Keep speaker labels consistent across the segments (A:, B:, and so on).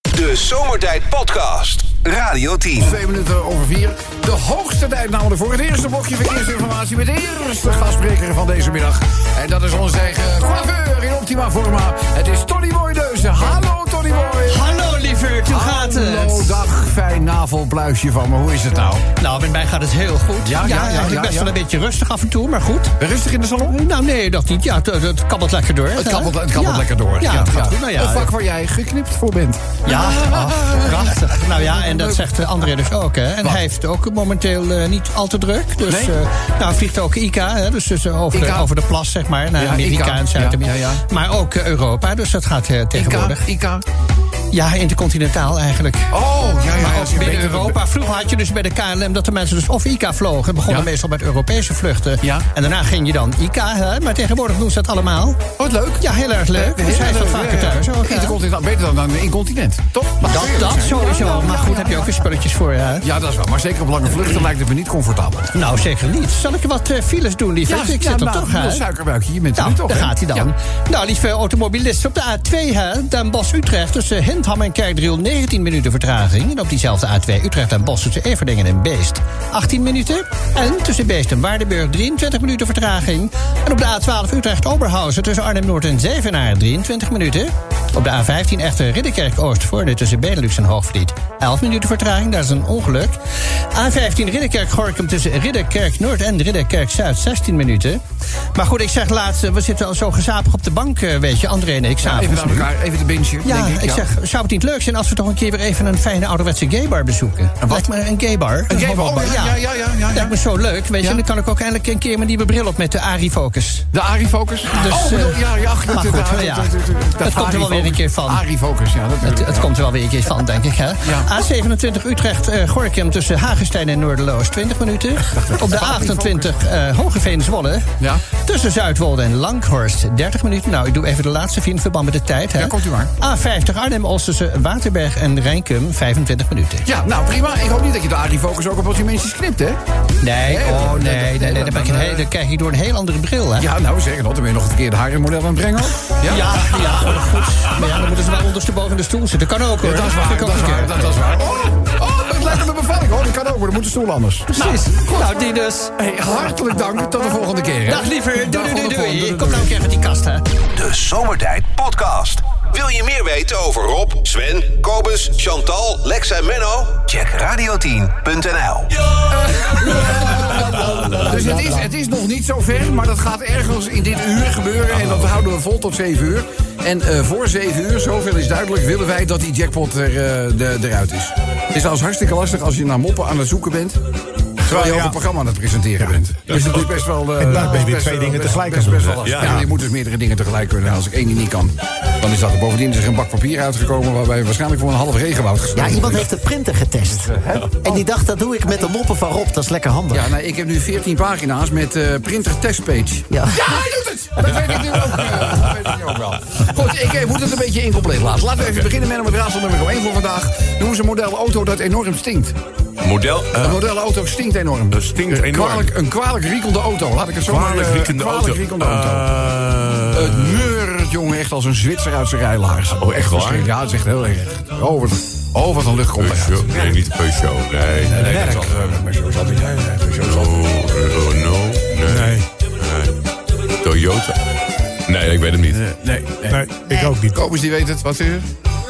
A: De Zomertijd Podcast. Radio 10.
B: Twee minuten over vier. De hoogste tijd namelijk voor het eerste blokje verkeersinformatie... met de eerste gastspreker van deze middag. En dat is onze eigen coiffeur in optima forma. Het is Tony Boy Deuze. Hallo Tony Boy.
C: Hallo lieverd, hoe gaat het?
B: Hallo, dag, fijn navelpluisje van me. Hoe is het nou?
C: Nou, met mij gaat het heel goed.
B: Ja, ja, ja,
C: eigenlijk
B: ja,
C: best
B: ja.
C: wel een beetje rustig af en toe, maar goed.
B: Rustig in de salon?
C: Nou, nee, dat niet. Ja, het, het kabbelt lekker door.
B: Het kabbelt, het kabbelt
C: Ja.
B: lekker door.
C: Ja, het gaat goed. Nou ja,
B: Een vak waar jij geknipt voor bent.
C: ja ah, prachtig. Nou ja, en dat zegt eh, André dus ook. Hè. En hij heeft het ook momenteel eh, niet al te druk. Dus
B: Nee?
C: eh, nou, vliegt ook ICA, hè, dus, dus eh, over,
B: ICA.
C: De, over de plas, zeg maar, naar
B: Ja,
C: Amerika
B: ICA.
C: en Zuid-Amerika.
B: Ja, ja,
C: Maar ook eh, Europa, dus dat gaat eh,
B: Ika,
C: tegenwoordig.
B: Ika.
C: Ja, intercontinentaal eigenlijk.
B: Oh, ja, ja.
C: Maar
B: als je
C: ook binnen
B: beter-
C: Europa. Vroeger had je dus bij de KLM dat de mensen dus of ICA vlogen. Het begon
B: Ja.
C: meestal met Europese vluchten.
B: Ja. Oh,
C: En daarna ging je dan ICA. Hè? Maar tegenwoordig doen ze dat allemaal.
B: Wat leuk.
C: Ja, heel erg leuk. dus hij is wat vaker thuis. Ook, hè?
B: Intercontinentaal, beter dan een incontinent, toch? Mag
C: dat,
B: eerlijk
C: dat
B: zijn.
C: sowieso. Maar goed, heb je ook weer spulletjes voor je. hè?
B: Ja, dat is wel. Maar zeker op lange vluchten lijkt het me niet comfortabel.
C: Nou, zeker niet. Zal ik wat eh, files doen, lieve? ik zit er
B: nou,
C: toch, hè?
B: een suikerbuikje, je bent er
C: Nou,
B: nu toch,
C: daar
B: hè?
C: gaat hij dan.
B: Ja.
C: Nou, lieve automobilisten, op de A2, hè, Den Bosch-Utrecht... tussen Hentham en Kerkdriel 19 minuten vertraging. En op diezelfde A2 Utrecht en Bosch tussen Everdingen en Beest 18 minuten. En tussen Beest en Waardenburg 23 minuten vertraging. En op de A12 Utrecht-Oberhausen tussen Arnhem-Noord en Zevenaar 23 minuten. Op de A15 echter Ridderkerk-Oost voorne tussen Benelux en Hoogvliet 11 minuten vertraging, dat is een ongeluk. A15 Ridderkerk-Gorkum tussen Ridderkerk-Noord en Ridderkerk-Zuid 16 minuten. Maar goed, ik zeg laatst, eh, we zitten al zo gezapig op de bank, eh, weet je, André en ik,
B: Even
C: s'avonds
B: naar
C: nu.
B: elkaar, even de bintje,
C: Ja,
B: denk ik.
C: ik zeg, zou het niet leuk zijn als we toch een keer weer even een fijne ouderwetse gaybar bezoeken?
B: wat?
C: Lijkt me een gaybar. Een
B: gaybar,
C: homobar,
B: oh, ja, ja, ja, ja, ja, ja.
C: Lijkt me zo leuk, weet je.
B: Ja.
C: En dan kan ik ook eindelijk een keer mijn nieuwe bril op met de Arifocus.
B: De Arifocus?
C: Dus,
B: oh, bedoel,
C: eh,
B: ja, ja,
C: maar
B: de-
C: goed,
B: de-
C: ja.
B: de- de- de- de-
C: Het komt er wel weer een keer van.
B: Arifocus, ja, natuurlijk.
C: Het, het
B: ja.
C: komt er wel weer een keer van, denk ik. Hè?
B: Ja.
C: A27 Utrecht, eh Gorkum tussen Hagestein en Noorderloos, 20 minuten. Op de A28 eh Hogeveen Zwolle.
B: Ja.
C: Tussen Zuidwolde en Langhorst, 30 minuten. Nou, ik doe even de laatste vier in verband met de tijd. Hè?
B: Ja, komt u maar.
C: A50 Arnhem-Oost tussen Waterberg en Rijnkum, 25 minuten.
B: Ja, nou prima. Ik hoop niet dat je de Arifocus ook op wat mensen knipt, hè?
C: Nee,
B: Nee,
C: oh
B: dat-
C: nee, nee, nee,
B: dat- dat-
C: dan, ben ik een
B: dat-
C: heel- dan krijg je door een heel andere bril, hè?
B: Ja, nou zeker. Dan ben je nog het verkeerde harenmodel aan het brengen. hoor.
C: ja, ja, goed. Maar ja, dan moeten ze wel ondersteboven in de stoel zitten. Kan ook, hoor.
B: Dat is waar,
C: Vind ik
B: dat
C: ook
B: is
C: een keer.
B: waar, dat is waar. Oh, oh, het lijkt me een bevalling, hoor. Dat kan ook, maar dan moet de stoel anders.
C: Precies. nou die dus.
B: Hey, hartelijk dank. Tot de volgende keer. hè.
C: Dag liever. Doei, doei,
B: tot
C: doei,
B: de volgende.
C: doei. Kom nou een keer uit die kast, hè.
A: De Zomertijd Podcast. Wil je meer weten over Rob, Sven, Kobus, Chantal, Lex en Menno? Check radio10.nl.
B: Dus het is, het is nog niet zo ver, maar dat gaat ergens in dit uur gebeuren. En dat houden we vol tot 7 uur. En eh, voor 7 uur, zoveel is duidelijk, willen wij dat die jackpot er, eh, de- eruit is. Het is als hartstikke lastig als je naar moppen aan het zoeken bent. Terwijl je ook
D: ja.
B: een programma aan het presenteren bent. Dus het is best wel... eh,
D: En daar ben je weer
B: best
D: twee
B: wel-
D: dingen
B: best-
D: tegelijk
B: best,
D: aan
B: best
D: doen,
B: wel
D: hè?
B: lastig.
D: Ja.
B: Ja, je moet dus meerdere dingen tegelijk kunnen. En Als ik één ding niet kan, dan is dat er bovendien is er een bak papier uitgekomen... waarbij waarschijnlijk voor een half regenwoud gestaan
E: Ja, iemand heeft de printer getest. En die dacht, dat doe ik met de moppen van Rob. Dat is lekker handig.
B: Ja, nou, ik heb nu 14 pagina's met eh, printer testpage.
E: Ja.
B: hij doet het! Dat weet ik nu ook, eh, dat weet ik ook wel. Goed, ik eh, moet het een beetje incompleet laten. Laten we even beginnen met het raadsel nummer 1 voor vandaag. Noem eens een modelauto dat enorm stinkt.
D: Model.
B: Een modelauto stinkt enorm.
D: Eh? Dat stinkt
B: Een
D: enorm.
B: Eh, Kwalijk, een kwalijk riekelde auto, laat ik het zo maar
D: Kwalijk
B: eh,
D: riekende
B: kwalijk
D: auto.
B: riekende auto.
D: Eh,
B: het neurt, jongen, echt als een Zwitser uit zijn rijlaars.
D: Oh, echt waar? Eh,
B: Verschrikkelijk. Ja, het is echt heel erg. Oh, wat, oh, wat een lucht komt eruit.
D: Peugeot. Nee, niet Peugeot. Nee, nee, nee.
B: Merk.
D: Renault.
B: Oh, eh,
D: Renault. Nee. nee. Toyota. Nee, ik weet het niet.
B: Nee, nee.
F: Nee, ik ook niet.
B: Kobus, die weet het. Wat is het?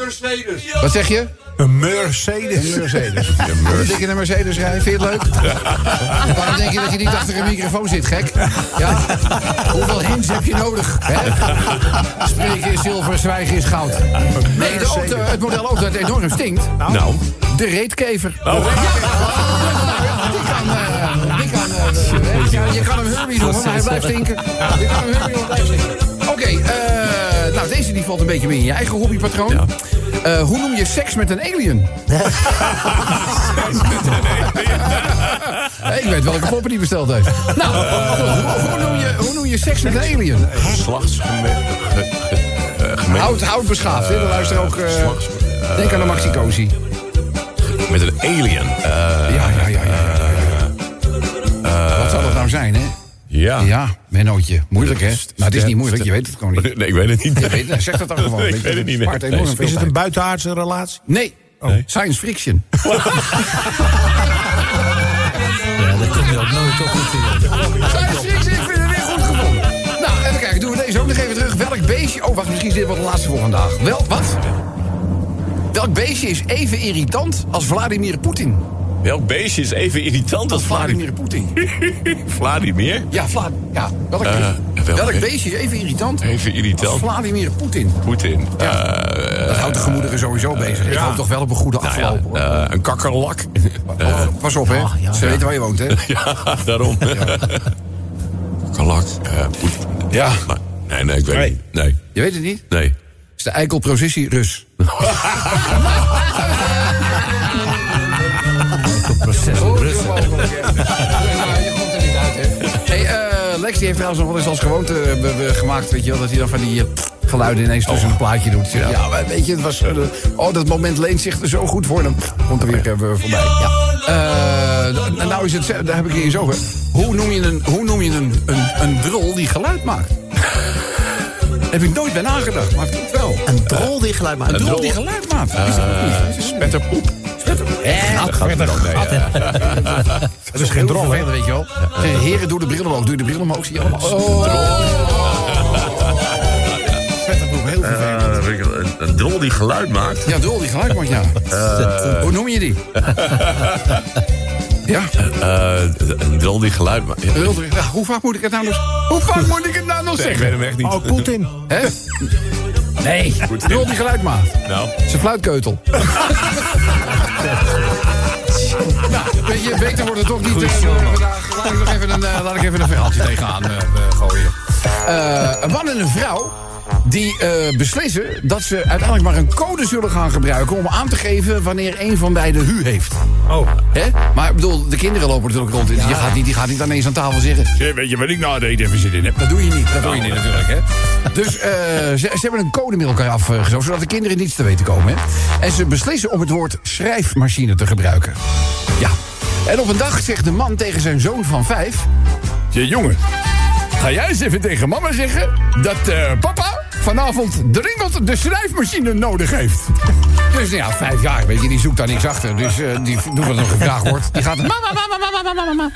B: Mercedes. Wat zeg je?
F: Een Mercedes.
B: Mercedes.
D: De Mercedes.
B: Dikke naar Mercedes rijden, vind je het leuk? Waarom denk je dat je niet achter een microfoon zit, gek? Ja? Hoeveel hints heb je nodig? Hè? Spreken is zilver, zwijgen is goud. Nee, de auto, het model auto dat enorm stinkt.
D: Nou.
B: De reetkever. Die kan, eh, die kan, eh, eh, ja, je kan hem Herbie noemen, maar hij blijft stinken. Je kan hem Herbie noemen, hij blijft stinken. Oké, eh, nou deze die valt een beetje meer in je eigen hobbypatroon. Eh, hoe noem je seks met een alien? Ik weet welke poppen die besteld
E: Eh,
B: heeft. Nou, hoe, hoe, noem je, hoe noem je seks met een alien?
D: Geslachtsgemengd.
B: Houd, houd beschaafd, hè? Dan luister ook... eh, denk
D: eh,
B: aan de Maxi Cosi.
D: Met een alien. Eh,
B: Ja, ja, ja, ja. ja, ja, ja. Wat zou dat nou zijn, hè?
D: Ja.
B: Ja, Mennootje. Moeilijk, hè? Nou, het is niet moeilijk. Je weet het gewoon niet.
D: Nee, ik weet het niet.
B: Je weet, zeg dat dan gewoon.
D: Ik
B: weet je,
D: weet het niet
B: spaart
D: meer.
B: enorm
D: Nee,
B: veel
G: Is het
B: tijd.
G: een buitenaardse relatie?
B: Nee. Oh, Science Friction.
C: Ja, dat kom je ook nooit op natuurlijk.
B: Science Friction, ik vind het weer goed gevonden. Nou, even kijken. Doen we deze ook nog even terug. Welk beestje... Oh, wacht. Misschien is dit wel de laatste voor vandaag. Wel, wat? Welk beestje is even irritant als Vladimir Poetin?
D: Welk beestje is even irritant als Vladimir?
B: Vladimir Poetin.
D: Vladimir?
B: Ja, Vlad. Ja, welk,
D: Eh, welk-
B: welk beestje is even irritant?
D: Even irritant.
B: Als Vladimir Poetin.
D: Poetin.
B: Dat houdt de gemoederen sowieso bezig. Ik hoop toch wel op een goede
D: Eh, ja,
B: afloop. hoor.
D: eh, een kakkerlak.
B: Oh, pas op,
C: Ah,
B: hè. Ze weten waar je woont, hè.
D: ja, daarom. Kakkerlak. eh, Poetin.
B: Ja.
D: Maar- Nee, nee, ik weet het niet. Nee,
B: Je weet het niet. Het
D: nee.
B: is de eikelprocessie Rus.
C: Proces in Brussel.
B: Hey, eh, Lex die heeft trouwens nog wel eens als gewoonte eh, we- we gemaakt, weet je wel, dat hij dan van die eh, geluiden ineens tussen een plaatje doet. Ja, maar weet je, het was, eh, oh, dat moment leent zich er zo goed voor, dan komt er weer even voorbij. Ja. Eh, d- nou is het, daar heb ik hier eens over. Hoe noem je een, hoe noem je een, een, een drol die geluid maakt? heb ik nooit bij nagedacht, maar ik doe het wel.
H: Een drol die geluid maakt.
B: Een drol die geluid maakt. Is dat ook niet?
D: Spetterpoep.
B: Dat is geen drol, hè? Weet je wel. Zeggen, Eh, Heren, doe de bril omhoog. Doe de bril omhoog. Zie je allemaal. Oh. Heel
D: Eh,
B: vervelend.
D: een, drol die geluid maakt. Eh,
B: Ja, drol die geluid maakt, ja. Hoe noem je die? Ja,
D: een drol Eh, die geluid maakt. Ja,
B: drol die- ja, hoe vaak moet ik het nou nog, hoe vaak moet ik het nou nog
D: ik
B: zeggen?
D: weet hem echt niet.
G: Oh, Poetin.
B: Hè? Nee, drol die geluid maakt.
D: Nou,
B: Zijn fluitkeutel. nou, weet je, beter wordt het toch niet. eh, vandaag. laat ik nog even een, eh, laat ik even een verhaaltje tegenaan eh, eh, gooien. Eh, een man en een vrouw die eh, beslissen dat ze uiteindelijk maar een code zullen gaan gebruiken... om aan te geven wanneer een van beiden hu heeft.
C: Oh,
B: Hè? Maar ik bedoel, de kinderen lopen natuurlijk rond. Je gaat niet, die gaat niet ineens aan tafel zitten.
D: weet je wat ik nou deed even zin in heb?
B: Dat doe je niet. Dat doe
D: Nou,
B: je niet natuurlijk, hè? Dus eh, ze, ze hebben een code met elkaar afgezocht... zodat de kinderen niets te weten komen, hè? En ze beslissen om het woord schrijfmachine te gebruiken. Ja. En op een dag zegt de man tegen zijn zoon van vijf... Je jongen, ga jij eens even tegen mama zeggen... dat eh, papa vanavond dringend de schrijfmachine nodig heeft. Dus nou ja, vijf jaar, weet je, die zoekt daar niks achter. Dus eh, die doet wat er gevraagd wordt. Die gaat... Mama, mama, mama, mama, mama, mama.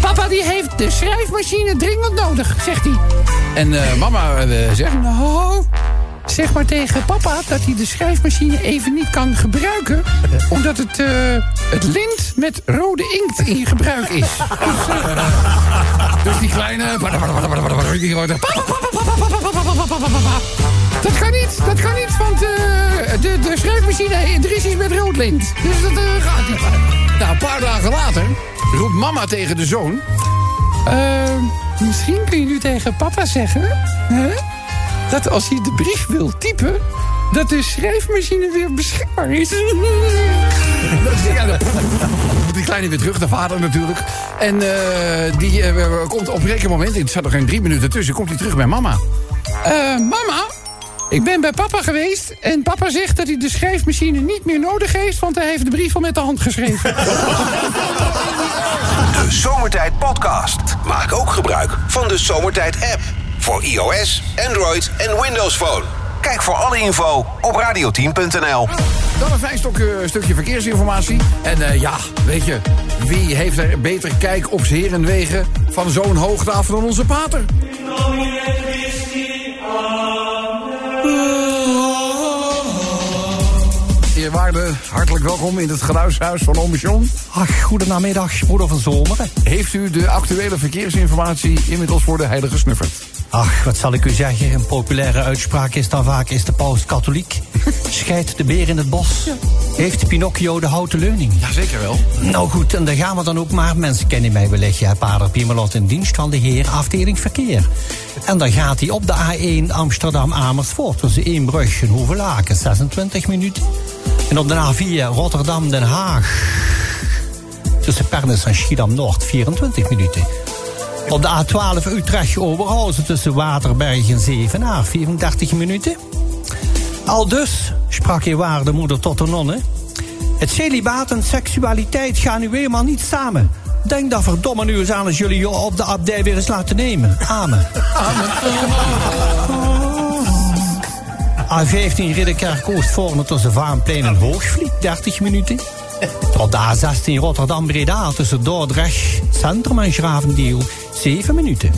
B: Papa die heeft de schrijfmachine dringend nodig, zegt hij. En eh, mama eh, zegt... Nou, zeg maar tegen papa dat hij de schrijfmachine even niet kan gebruiken... omdat het, eh, het lint met rode inkt in gebruik is. dus die kleine... Die hoort echt, "Papa, papa, papa, papa, papa, papa, papa, papa." Dat kan niet, dat kan niet, want eh, de, de schrijfmachine heeft drie is met rood lint. Dus dat eh, gaat niet. Nou, een paar dagen later roept mama tegen de zoon... Ehm, misschien kun je nu tegen papa zeggen... Hè, dat als hij de brief wil typen... dat de schrijfmachine weer beschikbaar is. Dat is- ja, dat- die kleine weer terug, de vader natuurlijk. En eh, die eh, komt op een gegeven moment... het zat er geen drie minuten tussen... komt hij terug bij mama. Eh, mama, ik ben bij papa geweest... en papa zegt dat hij de schrijfmachine niet meer nodig heeft... want hij heeft de brief al met de hand geschreven.
A: De Zomertijd Podcast. Maak ook gebruik van de Zomertijd app. Voor iOS, Android en Windows Phone. Kijk voor alle info op radioteam.nl.
B: Dan een fijn stok- eh, stukje verkeersinformatie. En eh, ja, weet je, wie heeft er beter kijk op z'n herenwegen van zo'n hoogte af dan onze pater? Eerwaarde, hartelijk welkom in het geluidshuis van Oom John.
C: ach, goedenamiddag, broeder van Zomeren.
B: Heeft u de actuele verkeersinformatie inmiddels voor de heilige snuffert?
C: Ach, wat zal ik u zeggen? Een populaire uitspraak is dan vaak: is de paus katholiek? Scheidt de beer in het bos? Heeft Pinocchio de houten leuning?
B: Jazeker wel.
C: Nou goed, en daar gaan we dan ook maar. Mensen kennen mij wellicht, ja, Pader Piemelot in dienst van de heer, afdeling verkeer. En dan gaat hij op de A1 Amsterdam-Amersfoort tussen Eembrug en Hoevelaken, 26 minuten. En op de A4 Rotterdam-Den Haag tussen Pernis en Schiedam-Noord, 24 minuten. Op de A12 Utrecht-Oberhausen tussen Waterberg en Zevenaar, 34 minuten. Al dus sprak eerwaarde moeder tot de nonne. Het celibaat en seksualiteit gaan nu helemaal niet samen. Denk daar verdomme nu eens aan als jullie je op de abdij weer eens laten nemen. Amen. A15 Ridderkerk Oost volgende tussen Vaanplein en Hoogvliet, 30 minuten. Tot de A16 Rotterdam-Breda tussen Dordrecht Centrum en Schravendiel, 7 minuten.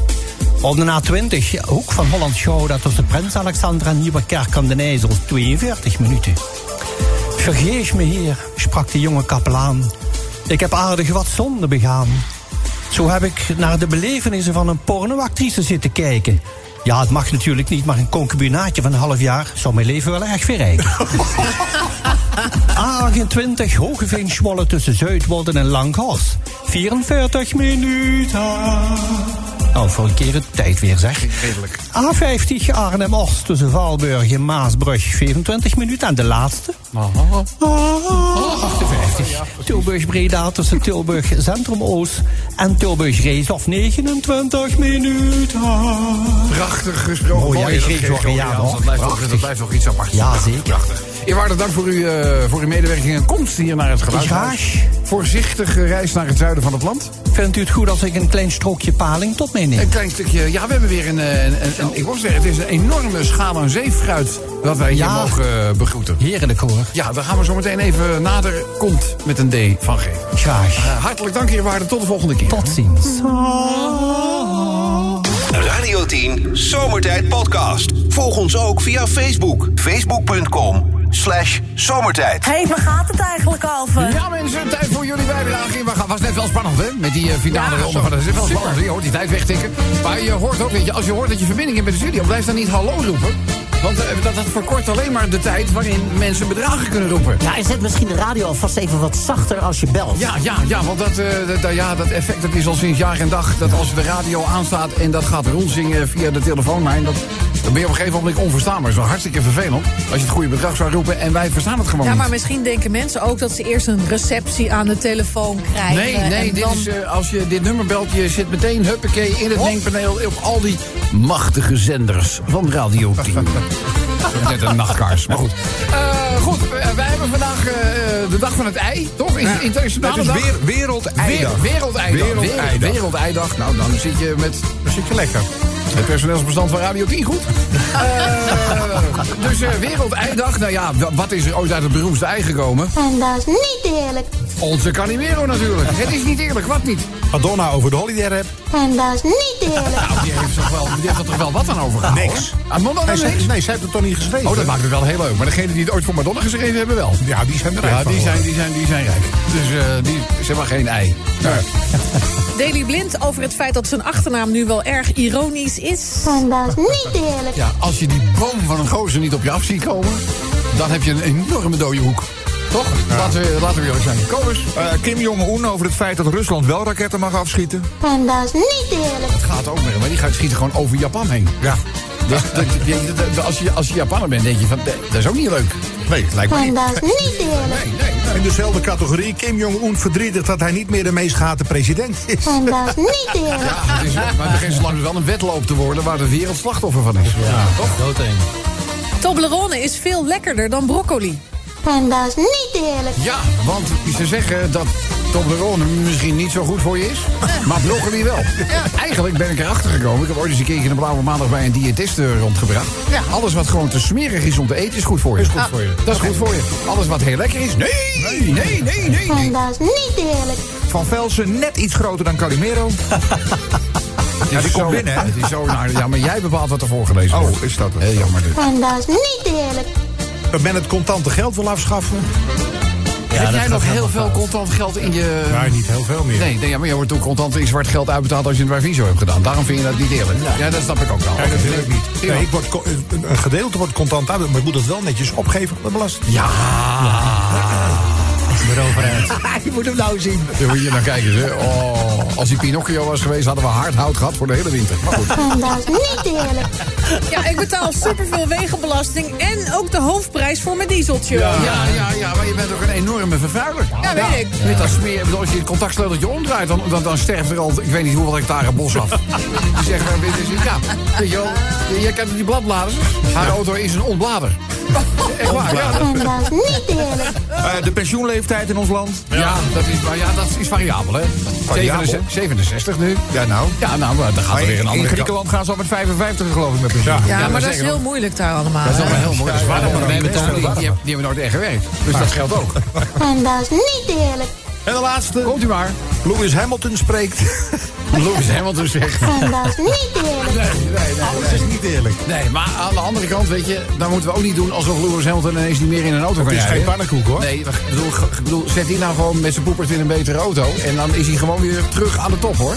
C: Op de A20, hoek van holland Gouda tussen Prins Alexander en Nieuwekerk aan den IJssel, 42 minuten. Vergeef me, heer, sprak de jonge kapelaan. Ik heb aardig wat zonde begaan. Zo heb ik naar de belevenissen van een pornoactrice zitten kijken. Ja, het mag natuurlijk niet, maar een concubinaatje van een half jaar zou mijn leven wel erg verrijken. A28 Hogeveen Zwolle tussen Zuidwolden en Langhorst. 44 minuten. Nou, voor een keer het tijd weer zeg. A50 Arnhem-Oost tussen Valburg en Maasbrug. 24 minuten en de laatste. Ah, 58. Tilburg-Breda tussen Tilburg Centrum Oost en Tilburg-Reeshof. 29 minuten.
B: Prachtig gesproken.
C: Mooi, hè,
B: Mooi, dat
C: Greet
B: geeft
C: Jorgen, ja,
B: Jorgen
C: hoor.
B: aan. Dat blijft toch-
C: Prachtig.
B: dat blijft toch iets apart.
C: Ja, zeker.
B: Prachtig. Eerwaarde dank voor, uw eh, voor uw medewerking en komst hier naar het geluid.
C: Graag.
B: Voorzichtige reis naar het zuiden van het land.
C: Vindt u het goed als ik een klein strookje paling tot meeneem?
B: Een klein stukje. Ja, we hebben weer een. eh, een, een- een- ik wil zeggen, het is een enorme schaal aan zeefruit dat wij hier
C: Ja.
B: mogen eh, begroeten.
C: Heerlijk hoor.
B: Ja, daar gaan we zo meteen even nader. Komt met een D van G.
C: Graag.
B: Eh, hartelijk dank, eerwaarde. Tot de volgende keer.
C: Tot ziens.
A: Radio 10 Zomertijd Podcast. Volg ons ook via Facebook. Facebook.com slash zomertijd.
I: Hé, hey, waar gaat het eigenlijk over?
B: Ja mensen, tijd voor jullie bijdrage. We gaan- was net wel spannend hè, met die eh, finale
I: Ja,
B: ronde. Van, dat is wel spannend, je hoort die tijd wegtikken. Maar je hoort ook, dat je, als je hoort dat je verbinding hebt met de studio... blijf dan niet hallo roepen. Want eh, dat, dat verkort alleen maar de tijd waarin mensen bedragen kunnen roepen.
H: Ja, en zet misschien de radio alvast even wat zachter als je belt.
B: Ja, ja, ja, want dat, eh, dat- dat- ja, dat effect dat is al sinds jaar en dag. Dat als de radio aanstaat en dat gaat rondzingen via de telefoonlijn... Dat, dan ben je op een gegeven moment onverstaanbaar. Dat is wel hartstikke vervelend als je het goede bedrag zou roepen... en wij verstaan het gewoon
J: Ja, maar
B: niet.
J: misschien denken mensen ook dat ze eerst een receptie aan de telefoon krijgen.
B: Nee, nee,
J: en
B: dit
J: dan...
B: is, eh, als je dit nummer belt, je zit meteen huppakee in het mengpaneel op al die machtige zenders van Radio 10. Net een nachtkaars, maar goed. Eh, goed, eh, wij hebben vandaag eh, de dag van het ei, toch? Is,
G: Ja,
B: internationale
G: het is
B: dag?
G: weer- Wereldeidag.
B: Weer- Wereldeidag.
G: Wereldeidag.
B: Wereld- Wereldeidag. Nou, dan zit je met
G: Dat zit je lekker.
B: het personeelsbestand van Radio 10 goed. Eh, dus eh Wereldeidag, nou ja, wa- wat is er ooit uit het beroemdste ei gekomen?
E: En dat is niet eerlijk.
B: Onze Calimero natuurlijk. Het is niet eerlijk, wat niet?
G: Madonna over de holiday rap.
E: En dat is niet eerlijk.
B: Nou, die heeft, toch wel, die heeft er toch wel wat aan overgehouden?
G: Niks.
B: hoor. Aan Madonna
G: Nee, zij,
B: niks?
G: nee, zij heeft het toch niet geschreven?
B: Oh, dat maakt het wel heel leuk. Maar degenen die het ooit voor Madonna geschreven hebben wel.
G: Ja, die zijn er
B: Ja, die zijn, die zijn, die zijn rijk. Dus eh, die, ze hebben geen ei. Nou,
J: Daily Blind over het feit dat zijn achternaam nu wel erg ironisch is.
E: En dat is niet eerlijk.
B: ja, als je die boom van een gozer niet op je af ziet komen... dan heb je een enorme dode hoek. Toch? Laten, we, laten we eerlijk zijn. Kom eens.
G: Eh, Kim Jong-un over het feit dat Rusland wel raketten mag afschieten.
E: En dat is niet eerlijk.
B: Het gaat ook meer, maar die gaat schieten gewoon over Japan heen.
G: Ja.
B: Dus dat- je- dat- dat- als, je, als je Japaner bent, denk je van, nee, dat is ook niet leuk.
G: Nee, het lijkt me
E: En
G: niet.
E: dat is niet eerlijk.
B: Nee, nee.
G: In dezelfde categorie, Kim Jong-un verdrietig dat hij niet meer de meest gehate president is.
E: En dat is niet eerlijk.
B: Ja, het is, maar het begint zo langzaam wel een wedloop te worden waar de wereld slachtoffer van is.
C: Doodeng.
J: Toblerone is veel lekkerder dan broccoli.
E: En dat is niet eerlijk.
B: Ja, want ze zeggen dat Toblerone misschien niet zo goed voor je is, maar broccoli wel. Eigenlijk ben ik erachter gekomen. Ik heb ooit eens een keertje een blauwe maandag bij een diëtiste rondgebracht. Ja, alles wat gewoon te smerig is om te eten is goed voor je. Is goed voor je. Dat is goed voor je. Alles wat heel lekker is, nee, nee, nee, nee.
E: En dat is niet eerlijk.
G: Van Velsen net iets groter dan Calimero.
B: Ja,
G: die komt binnen, hè?
B: Het is zo naar, ja, maar jij bepaalt wat er voorgelezen wordt.
G: Oh, is dat het?
B: Heel jammer dus. dit.
E: En dat is niet eerlijk.
G: Dat men het contante geld wil afschaffen.
B: Heb
C: dat
B: jij
C: gaat
B: nog heel
C: helemaal
B: veel
C: fout.
B: contant geld in je...
G: Nee, niet heel veel meer.
B: Nee, nee ja, maar je wordt ook contant in zwart geld uitbetaald als je een Braviso hebt gedaan. Daarom vind je dat niet eerlijk. Ja, dat snap ik ook wel.
G: Nee, dat wil ik niet.
B: Ja.
G: Nee, ik word, eh, co- een een gedeelte wordt contant uit, maar ik moet het wel netjes opgeven aan de belasting.
B: Ja.
H: je moet hem nou zien.
B: Ah. Ja, moet je nou kijken. Hè. Oh, als die Pinocchio was geweest, hadden we hard hout gehad voor de hele winter. Maar goed.
E: En dat is niet eerlijk.
J: Ja, ik betaal superveel wegenbelasting en ook de hoofdprijs voor mijn dieseltje.
B: Ja, ja, ja, maar je bent ook een enorme vervuiler.
J: Ja, weet ik.
B: Met dat smeer, ik bedoel, als je het contactsleuteltje omdraait, dan, dan, dan sterft er al, ik weet niet hoeveel hectare bos af. Die zeggen, dit is, ja, weet je wel, je- jij kent die bladbladers. Haar auto is een ontblader. Echt waar, ja, dat-
E: En dat is niet eerlijk.
G: Eh,
K: eh, de pensioenleeftijd in ons land?
B: Ja, dat, is, maar ja dat is variabel, hè?
K: Variabel?
B: 67 67 nu.
K: Ja, nou.
B: Ja, nou, maar dan gaat
K: Maar
B: er
K: in,
B: weer een andere
K: in Griekenland gaan ze al met 55 geloof ik met pensioen.
J: Ja, maar dat is heel moeilijk daar allemaal.
B: Dat is
J: hè?
B: allemaal heel mooi. Dat
K: Ja,
B: is waar.
K: ja,
B: maar
K: ja,
B: die,
K: ja,
B: mensen, die,
K: ja.
B: die hebben- die hebben nooit echt gewerkt. Dus dat geldt ook.
E: En dat is niet eerlijk.
K: En de laatste.
B: Komt u maar.
G: Lewis Hamilton spreekt.
B: Lewis Hamilton zegt.
E: En dat is niet eerlijk.
B: Nee, nee, nee.
G: Alles Oh, is niet eerlijk.
B: Nee, maar aan de andere kant, weet je, dan moeten we ook niet doen alsof Lewis Hamilton ineens niet meer in een auto kan
G: Het is
B: rijden.
G: geen pannenkoek hoor.
B: Nee, ik bedoel, ge- ik bedoel, zet die nou gewoon met zijn poepers in een betere auto. En dan is hij gewoon weer terug aan de top hoor.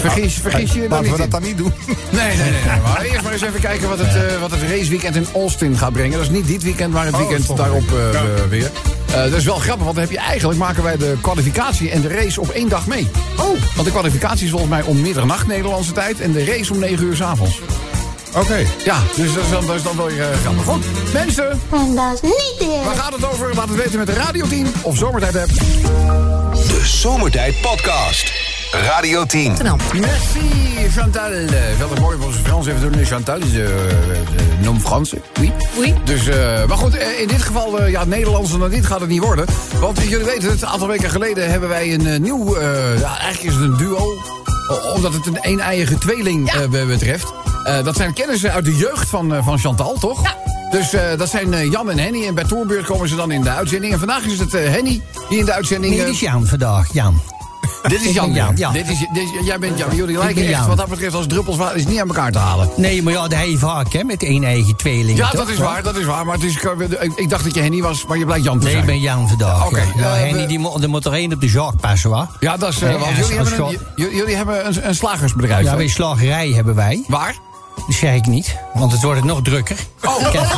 B: Vergis, vergis je daar
G: Ah, Laten
B: niet
G: we
B: in.
G: dat dan niet doen.
B: Nee, nee, nee. nee, Maar eerst maar eens even kijken wat het, eh, wat het raceweekend in Austin gaat brengen. Dat is niet dit weekend, maar het
G: Oh,
B: weekend
G: volgende
B: daarop eh,
G: week.
B: eh, weer. Eh, dat is wel grappig, want dan heb je eigenlijk maken wij de kwalificatie en de race op één dag mee. Oh. Want de kwalificatie is volgens mij om middernacht Nederlandse tijd en de race om 9 uur s'avonds.
G: Oké.
B: Ja, dus dat is dan, dat is dan wel weer eh, grappig. Goed, mensen,
E: En dat is niet
B: waar
E: eerlijk.
B: gaat het over? Laat het weten met de radioteam of zomertijd app.
A: De Zomertijd Podcast. Radio 10.
J: Nou,
B: Merci Chantal. Eh, Wel een mooi op onze Frans even doen. Chantal is eh nom Franse. Oui.
J: Oui.
B: Dus, eh, maar goed, eh, in dit geval, eh, ja, Nederlands dan dit gaat het niet worden. Want eh, jullie weten het, een aantal weken geleden hebben wij een eh, nieuw... eh, ja, eigenlijk is het een duo, o- omdat het een een-eiige tweeling eh, be- betreft. Eh, dat zijn kennissen uit de jeugd van, eh, van Chantal, toch?
J: Ja.
B: Dus eh, dat zijn eh, Jan en Henny. En bij Tourbeurt komen ze dan in de uitzending. En vandaag is het eh, Henny die in de uitzending...
C: Nee, dit
B: eh,
C: is Jan vandaag, Jan.
B: dit is
C: Ik
B: Jan.
C: ben Jan, ja.
B: Dit is, dit is- jij bent Jan. Jullie lijken
C: ben
B: echt
C: Jan.
B: wat dat betreft als druppels water is niet aan elkaar te halen.
C: Nee, maar ja, dat hij vaak, hè, met één eigen tweeling.
B: Ja,
C: toch?
B: dat is waar, dat is waar. Maar het is, ik, ik dacht dat je Henny was, maar je blijkt Jan te
C: Nee,
B: zijn.
C: ik ben Jan vandaag.
B: Oké,
C: ja.
B: eh,
C: Nou, Henny,
B: we-
C: die mo- er moet er één op de zaak passen, hoor.
B: Ja, dat is... eh,
C: Nee,
B: want
C: ja,
B: jullie,
C: dat is
B: hebben een,
C: gewoon-
B: j- j- jullie hebben een, een slagersbedrijf.
C: Ja,
B: hè?
C: bij slagerij hebben wij.
B: Waar?
C: Dat zeg ik niet, want het wordt nog drukker.
B: Oh.
C: Kijk,
H: oh,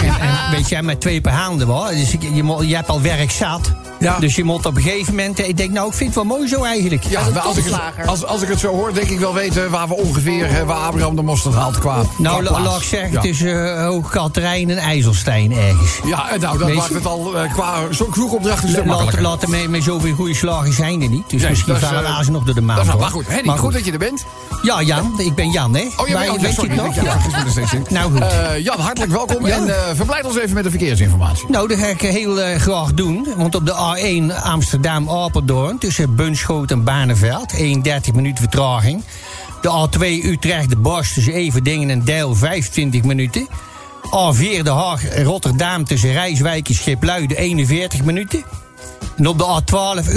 C: en- en weet jij, met twee per handen hoor. Dus ik- je, mo- je hebt al werk zat.
B: Ja.
C: Dus je moet op een gegeven moment. eh, Ik denk, nou, ik vind het wel mooi zo eigenlijk.
B: Ja, maar als, ik het,
J: topslager.
B: als, als ik het zo hoor, denk ik wel weten waar we ongeveer... eh, waar Abraham de mosterd haalt qua qua
C: Nou, la-
B: plaats.
C: laat ik zeggen,
B: Ja.
C: het is eh, ook Katerijn en IJsselstein ergens.
B: Ja, eh, nou, dat
C: Weet je-
B: maakt het al eh, qua zo'n zoekopdracht een stuk
C: Laat,
B: makkelijker.
C: laat er mee, met zoveel goede slagen zijn er niet. Dus
B: Nee,
C: misschien
B: dat is,
C: vallen we
B: eh,
C: aas nog door de maan.
B: Dat is waar.
C: hoor.
B: maar goed, Henny,
C: Maar
B: goed. dat je er bent.
C: Ja, Jan, ik ben Jan, hè?
B: Oh, jij
C: Maar
B: bent- oh,
C: weet
B: sorry,
C: je het nog?
B: ik- ja,
C: Ja.
B: ik wist er steeds in.
C: Nou, goed.
B: dus Eh, Jan, hartelijk welkom.
C: Ja.
B: En eh, verblijd ons even met de verkeersinformatie.
C: Nou, dat ga ik heel eh, graag doen. Want op de A1 Amsterdam-Apeldoorn... tussen Bunschoot en Barneveld... 31 minuten vertraging. De A2 Utrecht-De Bosch tussen Everdingen en Deil... 25 minuten. A4 De Haag-Rotterdam tussen Rijswijk en Schipluiden... 41 minuten. En op de A12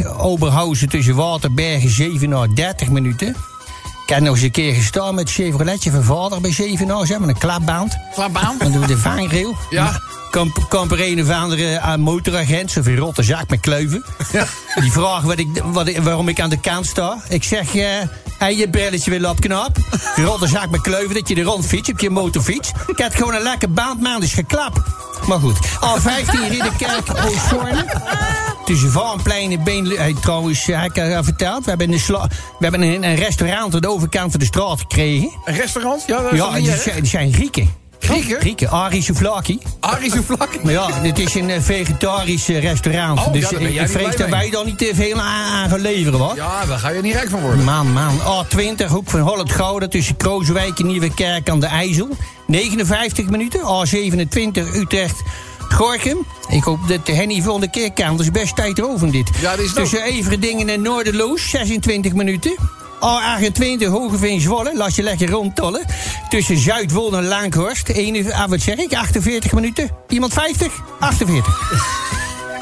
C: Utrecht-Oberhausen tussen Waterbergen... 37 minuten. Ik heb nog eens een keer gestaan met Chevroletje van vader bij Zevenaar. Ze hebben een klapband.
B: Klaarbaan.
C: Dan doen we de vangrail.
B: Ja.
C: Kamp, kamp er een of andere aan motoragent, zo'n rotte zaak met kleuven. Die vraagt wat ik, wat ik- waarom ik aan de kant sta. Ik zeg, eh, hij je belletje wil opknap. Die rotte zaak met kleuven, dat je er rond fietst op je motorfiets. Ik had gewoon een lekker baandmaand, is geklapt. Maar goed, A15 Ridderkerk,
B: oh,
C: Oosthoorn. Tussen Vaanplein en Been... Hey, trouwens, eh, heb ik al verteld. We hebben, een, sla- we hebben een, een restaurant aan de overkant van de straat gekregen.
B: Een restaurant? Ja, dat is
C: Ja,
B: toch niet
C: die
B: erg?
C: zijn, die zijn Grieken.
B: Grieken?
C: Grieken, Arie Souvlaki.
B: Arie Souvlaki.
C: Maar ja, dit is een eh, vegetarisch eh, restaurant.
B: Oh, ja,
C: dus
B: daar ben
C: ik-
B: jij
C: ik
B: niet
C: vrees
B: blij
C: dat
B: mee.
C: wij daar niet te veel aan, aan gaan leveren, hoor.
B: Ja, daar ga je niet rijk van worden.
C: Man, man. A20, hoek van Holland Gouden tussen Krooswijk en Nieuwekerk aan de IJssel. 59 minuten. A27, Utrecht. Gorkum, ik hoop dat de Henny volgende keer kan. Dat is best tijdrovend dit.
B: Ja, dat is nou- het
C: Tussen Everdingen en Noorderloos, 26 minuten. A28, Hogeveen Zwolle, laat je lekker rondtollen. Tussen Zuidwolde en Lankhorst, 1, ah, wat zeg ik, 48 minuten. Iemand 50? 48.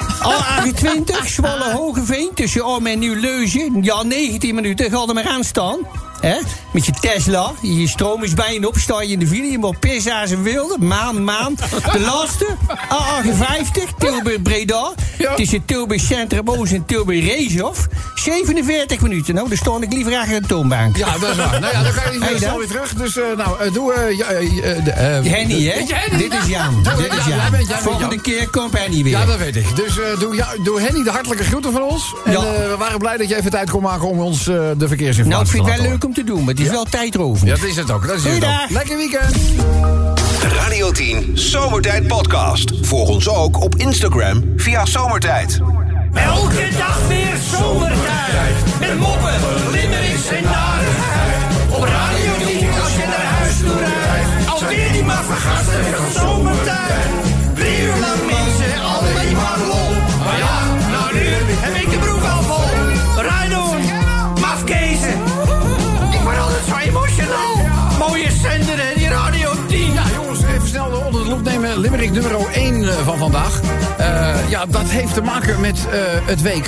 C: A28, Zwolle Hogeveen, tussen Om en Nieuw-Leuzen. Ja, 19 minuten, ga er maar aan staan. hè? Met je Tesla, je stroom is bijna op, sta je in de file, je moet pissen als een wilde. Maan, maan. De laatste, A58, Tilburg-Breda.
B: Ja.
C: Tussen Tilburg Centrum Oost en Tilburg Reeshof. 47 minuten, nou, daar stond ik liever achter een toonbank.
B: Ja, dat is waar. Nou ja, dan kan je niet
C: Hey,
B: snel
C: dan.
B: weer terug. Dus eh, nou, eh, doe... eh, ja, eh, eh, de, eh,
C: Henny, hè?
B: Weet je Henny?
C: Dit is Jan.
B: Ja,
C: Dit
B: ja,
C: is
B: jij
C: Jan.
B: bent- jij bent
C: Volgende
B: Jan.
C: keer komt Henny weer.
B: Ja, dat weet ik. Dus eh, doe, ja, doe Henny de hartelijke groeten van ons. En
C: Ja.
B: eh, we waren blij dat je even tijd kon maken om ons eh, de
C: nou, ik
B: verkeersinformatie
C: vind
B: te
C: het
B: laten
C: wel
B: horen.
C: leuk om te doen, maar het is wel tijdrovend.
B: Ja, dat is het ook. Dat is het ook.
C: Goeiedag.
B: Lekker weekend.
A: Radio 10 Zomertijd Podcast. Volg ons ook op Instagram via Zomertijd.
L: Elke dag weer zomertijd. Met moppen, limmerings en narigheid. Op radio niet als je naar huis toe rijdt. Alweer die maar nou, vergasten van zomertijd. Drie uur lang mensen, alleen maar
B: Oh. limerick nummer 1 van vandaag. Uh, ja, dat heeft te maken met uh, het WK.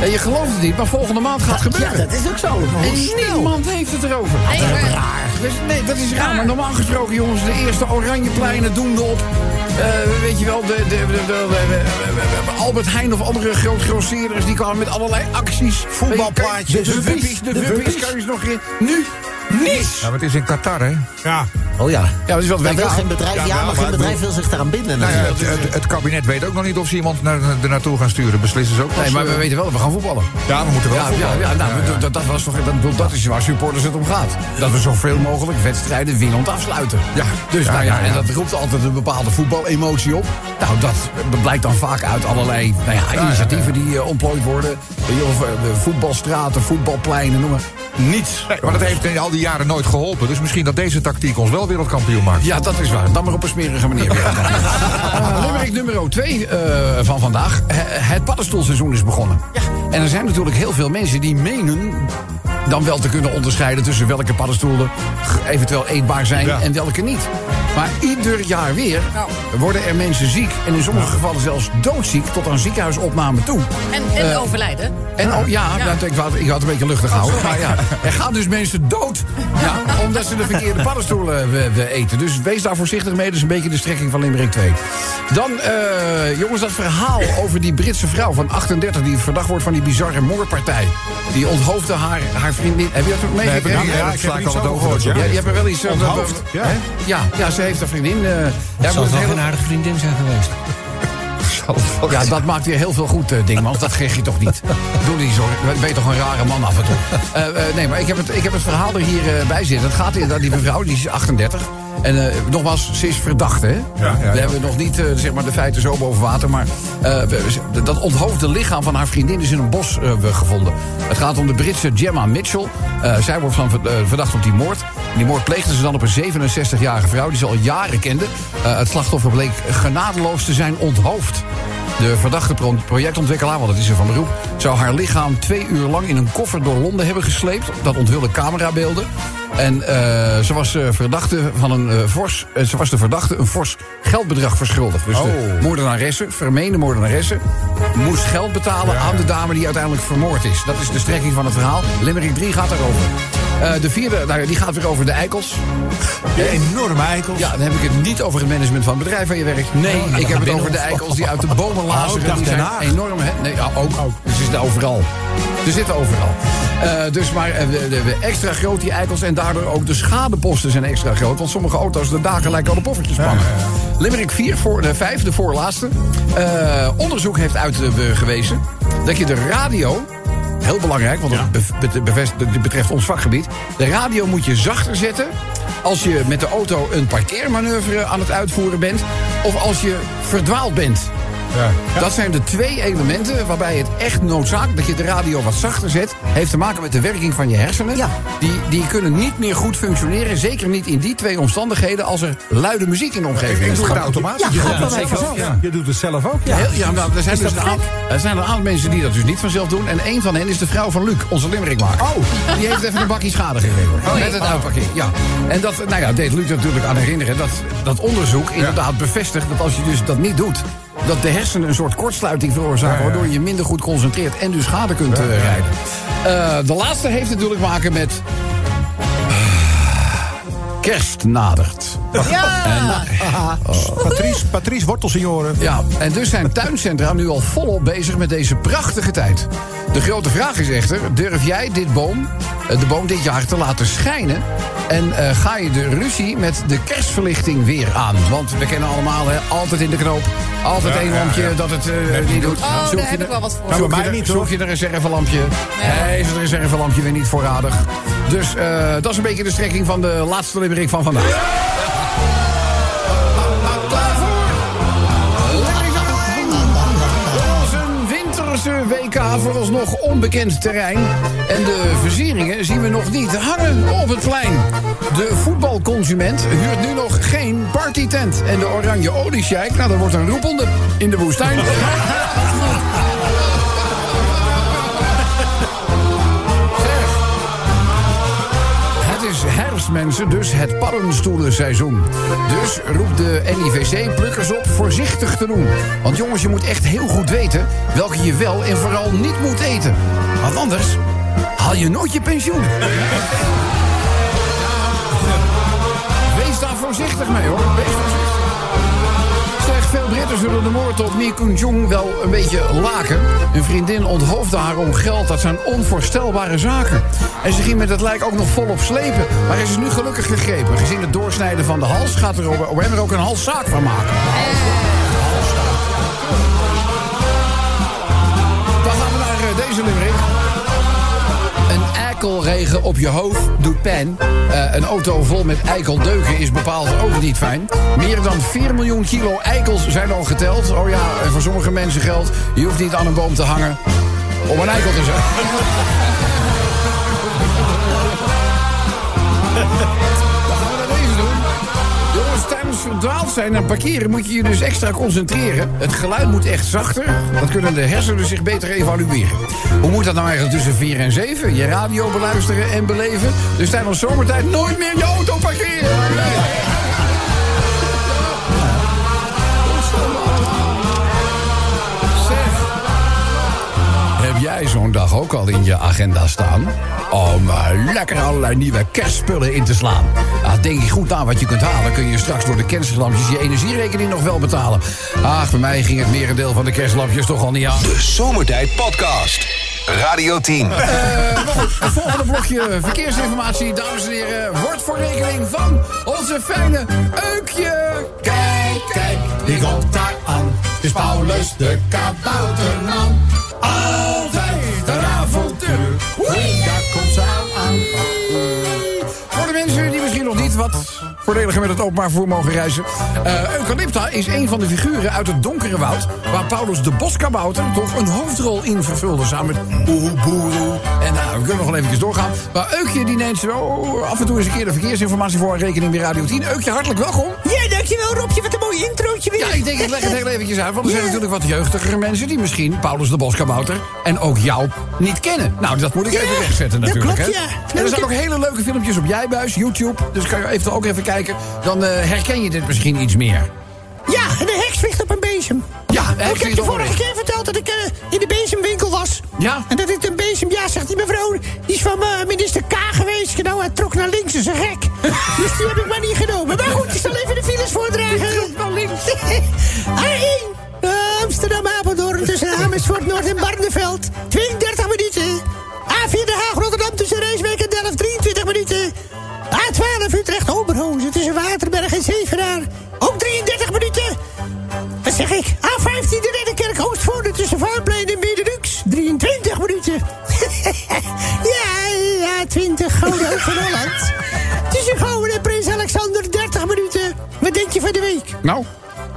B: En je gelooft het niet, maar volgende maand gaat het gebeuren.
H: Ja, dat is ook zo.
B: En niemand heeft het erover.
H: Nee, dat is raar.
B: Dus, nee, dat is raar. Maar normaal gesproken, jongens, de eerste oranje pleinen doen op. Uh, weet je wel, de, de, de, de, Albert Heijn of andere grootgrosseerders... die kwamen met allerlei acties.
G: Voetbalplaatjes.
B: De wuppies, de wuppies, kan je nog in. Nu niets.
K: Ja, maar het is in Qatar, hè?
G: Ja.
H: Oh ja.
B: Ja, dat is wat
H: Daar
B: WK.
H: wil geen bedrijf, ja,
K: Ja, wel,
H: maar
K: maar
H: geen
K: ik
H: bedrijf wil zich daaraan binden.
K: Nou ja,
H: natuurlijk.
K: het, het, het kabinet weet ook nog niet of ze iemand naar, er naartoe gaan sturen. Beslissen ze ook
B: Nee,
K: pas,
B: maar we
K: eh,
B: weten wel, dat we gaan voetballen.
K: Ja, we moeten wel
B: Ja, ja,
K: voetballen.
B: ja, nou, dat- Dat, dat, was toch, dat, bedoel, dat is waar supporters het om gaat. Dat we zoveel mogelijk wedstrijden winnend afsluiten.
K: Ja.
B: Dus
K: Ja,
B: nou ja,
K: ja, ja.
B: en dat roept altijd een bepaalde voetbalemotie op. Nou, dat, dat blijkt dan vaak uit allerlei nou ja, initiatieven die eh, ontplooid worden. Weet je, Of eh, voetbalstraten, voetbalpleinen, noem maar. Niets.
K: Nee, maar dat heeft in al die jaren nooit geholpen. Dus misschien dat deze tactiek ons wel wereldkampioen maakt.
B: Ja, dat is waar. Dan maar op een smerige manier. weer. Eh, Limerick nummer 2 eh, van vandaag. H- het paddenstoelseizoen is begonnen. En er zijn natuurlijk heel veel mensen die menen dan wel te kunnen onderscheiden tussen welke paddenstoelen g- eventueel eetbaar zijn
K: Ja.
B: en welke niet. Maar ieder jaar weer
J: Nou.
B: worden er mensen ziek en in sommige gevallen zelfs doodziek tot aan ziekenhuisopname toe. Eh,
J: En, en overlijden.
B: En oh, ja,
J: Ja. Oh,
B: nou, ik, wou- ik had een beetje luchtig gehouden.
J: sorry.
B: Maar ja, er gaan dus mensen dood. Ja, omdat ze de verkeerde paddenstoelen eh, eh, eten. Dus wees daar voorzichtig mee. Dat is een beetje de strekking van Limerick 2. Dan, eh, jongens, dat verhaal over die Britse vrouw van 38... die verdacht wordt van die bizarre moordpartij. Die onthoofde haar, haar vriendin. Heb je dat ook
K: heb ik
B: meegekregen?
K: niet. Ja, ik heb er iets over gehoord,
B: Ja,
K: ja.
B: je hebt er wel iets... eh,
G: Onthoofd,
B: eh,
G: ja.
B: hè? ja. Ja, ze heeft een vriendin. eh ja,
C: Zal
B: moet
C: het
B: het
C: wel een
B: hele-
C: aardige vriendin zijn geweest.
B: ja, dat maakt weer heel veel goed, eh, Dingmans. Dat kreeg je toch niet? Doe die zo. Ben je toch een rare man af en toe? Eh, eh, nee, maar ik heb, het, ik heb het verhaal er hier eh, bij zitten. Het gaat inderdaad, die mevrouw, die is 38. En eh, nogmaals, ze is verdachte, hè?
K: ja, ja.
B: We hebben nog niet eh, zeg maar de feiten zo boven water. Maar eh, we- we- dat onthoofde lichaam van haar vriendin is in een bos eh, we- gevonden. Het gaat om de Britse Gemma Mitchell. Eh, zij wordt van, ver- eh, verdacht op die moord. En die moord pleegde ze dan op een 67-jarige vrouw die ze al jaren kende. Eh, het slachtoffer bleek genadeloos te zijn onthoofd. De verdachte pro- projectontwikkelaar, want dat is er van beroep... zou haar lichaam twee uur lang in een koffer door Londen hebben gesleept. Dat onthullen camerabeelden. En eh, ze, was, eh, verdachte van een, eh, fors, eh, ze was de verdachte een fors geldbedrag verschuldigd. Dus de moordenaresse, vermeende moordenaresse... moest geld betalen aan de dame die uiteindelijk vermoord is. Dat is de strekking van het verhaal. Limerick 3 gaat daarover. Eh, de vierde, nou ja, die gaat weer over de eikels.
G: Die enorme eikels.
B: Ja, dan heb ik het niet over het management van het bedrijf waar je werkt. Nee, ik heb het over de eikels die uit de bomen
G: Oh,
B: lazeren.
G: dag
B: die
G: Den
B: zijn
G: Haag.
B: enorm. Hè? Nee, ja, ook, ook. Ze zitten overal. Ze zitten overal. Eh, dus maar eh, de- de- de extra groot die eikels en daardoor ook de schadeposten zijn extra groot. Want sommige auto's de daken lijken al de poffertjes pannen. Limerick 4, voor, de 5, de voorlaatste. Eh, onderzoek heeft uitgewezen dat je de radio Heel belangrijk, want dat bev- bet- bevest- dat betreft ons vakgebied. De radio moet je zachter zetten als je met de auto een parkeermanoeuvre aan het uitvoeren bent... of als je verdwaald bent. Dat zijn de twee elementen waarbij het echt noodzakelijk dat je de radio wat zachter zet. Heeft te maken met de werking van je hersenen.
H: Ja.
B: Die, die kunnen niet meer goed functioneren. Zeker niet in die twee omstandigheden als er luide muziek in de omgeving is.
K: Ik doe het automatisch.
H: Ja, gaat wel even
K: zeker.
H: zo.
K: Ja.
G: Je doet het zelf ook.
B: Heel- ja, nou, er, zijn dus een aantal, er zijn een aantal mensen die dat dus niet vanzelf doen. En een van hen is de vrouw van Luc, onze limmerikmaker. Oh. Die heeft even een bakje schade gegeven.
G: Oh,
B: met het uitparkeer. Ja. En dat nou ja, deed Luc natuurlijk aan herinneren. Dat, dat onderzoek inderdaad bevestigt dat als je dus dat niet doet... dat de hersenen een soort kortsluiting veroorzaken... waardoor je minder goed concentreert en dus schade kunt eh, rijden. Eh, de laatste heeft natuurlijk te maken met... eh, Kerst nadert.
G: Patrice, Patrice Wortelsenioren.
B: Oh. Ja, en dus zijn tuincentra nu al volop bezig met deze prachtige tijd. De grote vraag is echter, durf jij dit boom, eh, de boom dit jaar te laten schijnen? En eh, ga je de ruzie met de kerstverlichting weer aan? Want we kennen allemaal, hè, altijd in de knoop, altijd
K: Ja,
B: een
K: ja,
B: lampje
K: ja.
B: dat het eh, niet doet.
J: Oh,
B: Zoek
J: daar
B: je
J: heb
B: de-
J: ik wel wat voor.
G: Nou, bij
B: Zoek je
G: mij
B: er-
G: niet
B: Zoek
G: hoor.
B: je een reservelampje? Nee, is het reservelampje weer niet voorradig? Dus eh, dat is een beetje de strekking van de laatste limmering van vandaag. Klaar voor? Lekker Carlijn! Ons een winterse WK voor ons nog onbekend terrein. En de verzeringen zien we nog niet hangen op het plein. De voetbalconsument huurt nu nog geen partytent. En de oranje oliesjijk, nou dat wordt een roepelde in de woestijn. Het is herfst naast mensen dus het paddenstoelenseizoen. Dus roept de NIVC-plukkers op voorzichtig te doen. Want jongens, je moet echt heel goed weten welke je wel en vooral niet moet eten. Want anders haal je nooit je pensioen. Wees daar voorzichtig mee hoor. Wees voorzichtig. Zeg, veel Britten zullen de moord op Lee Kun-jong wel een beetje laken. Een vriendin onthoofde haar om geld. Dat zijn onvoorstelbare zaken. En ze ging met het lijk ook nog volop slepen. Maar hij is nu gelukkig gegrepen. Gezien het doorsnijden van de hals gaat er OM er ook een halszaak van maken. Dan gaan we naar eh, deze limerick. Een eikelregen op je hoofd doet pijn. Eh, een auto vol met eikeldeuken is bepaald ook niet fijn. Meer dan 4 miljoen kilo eikels zijn al geteld. Oh ja, en voor sommige mensen geldt... je hoeft niet aan een boom te hangen om een eikel te zijn. Dan gaan we naar deze doen. Jongens, tijdens verdwaald zijn en parkeren moet je je dus extra concentreren. Het geluid moet echt zachter. Dan kunnen de hersenen zich beter evalueren. Hoe moet dat nou eigenlijk tussen 4 en 7? Je radio beluisteren en beleven. Dus tijdens zomertijd nooit meer je auto parkeren. Zeg, Heb jij zo'n dag ook al in je agenda staan? Om eh, lekker allerlei nieuwe kerstspullen in te slaan. Ah, denk je goed na wat je kunt halen. Kun je straks door de kerstlampjes je energierekening nog wel betalen. Ach, bij mij ging het merendeel van de kerstlampjes toch al niet aan.
A: De Zomertijd Podcast. Radio 10.
B: Eh, maar goed, het volgende blokje verkeersinformatie, dames en heren, wordt voor rekening van onze fijne Eukje. Kijk, kijk, die komt daar aan. Het is Paulus de kabouterman. Altijd de avontuur. Oei, daar komt ze aan. aan. Voor de mensen die misschien nog niet wat voordeliger met het openbaar vervoer mogen reizen. Eh, Eucalypta is een van de figuren uit het donkere woud... waar Paulus de boskabouter toch een hoofdrol in vervulde... samen met Boeroe Boeroe. En nou, we kunnen nog wel eventjes doorgaan. Maar Eukje die neemt zo af en toe eens een keer de verkeersinformatie voor... rekening bij Radio 10. Eukje, hartelijk welkom.
M: Ja, dankjewel Robje, wat een mooi introotje weer.
B: Ja, ik denk ik leg het heel eventjes uit. Want er zijn
M: Ja.
B: natuurlijk wat jeugdigere mensen... die misschien Paulus de boskabouter en ook jou niet kennen. Nou, dat moet ik
M: Ja,
B: even wegzetten
M: dat
B: natuurlijk.
M: klopt,
B: hè.
M: ja.
B: En er
M: Nou,
B: zijn
M: ik-
B: ook hele leuke filmpjes op Jijbuis, YouTube. Dus kan je eventueel ook even kijken. Dan eh, herken je dit misschien iets meer.
M: Ja, en de heks ligt op een bezem.
B: Ja, de heks
M: Ik heb
B: ligt
M: je
B: op een
M: vorige
B: bezem.
M: keer verteld dat ik eh, in de bezemwinkel was.
B: Ja.
M: En dat dit een bezem, ja, zegt die mevrouw, die is van eh, minister K geweest. Nou, hij trok naar links, is een gek. dus die heb ik maar niet genomen. Maar goed, ik zal even de files voordragen. Die trok naar links. A1, eh, Amsterdam-Apeldoorn tussen Amersfoort Noord en Barneveld. 32 minuten. A4 Den Haag-Rotterdam tussen Rijswijk en Delft. 23 minuten. A12 Utrecht-Oberhozen tussen Waterberg en Zevenaar. Ook 33 minuten. Wat zeg ik? A15 de Ridderkerk Oostvoorde tussen Vaanplein en Benelux. 23 minuten. ja, ja, 20 Gouden Hoek van Holland. Tussen Gouden en Prins Alexander 30 minuten. Wat denk je van de week?
B: Nou,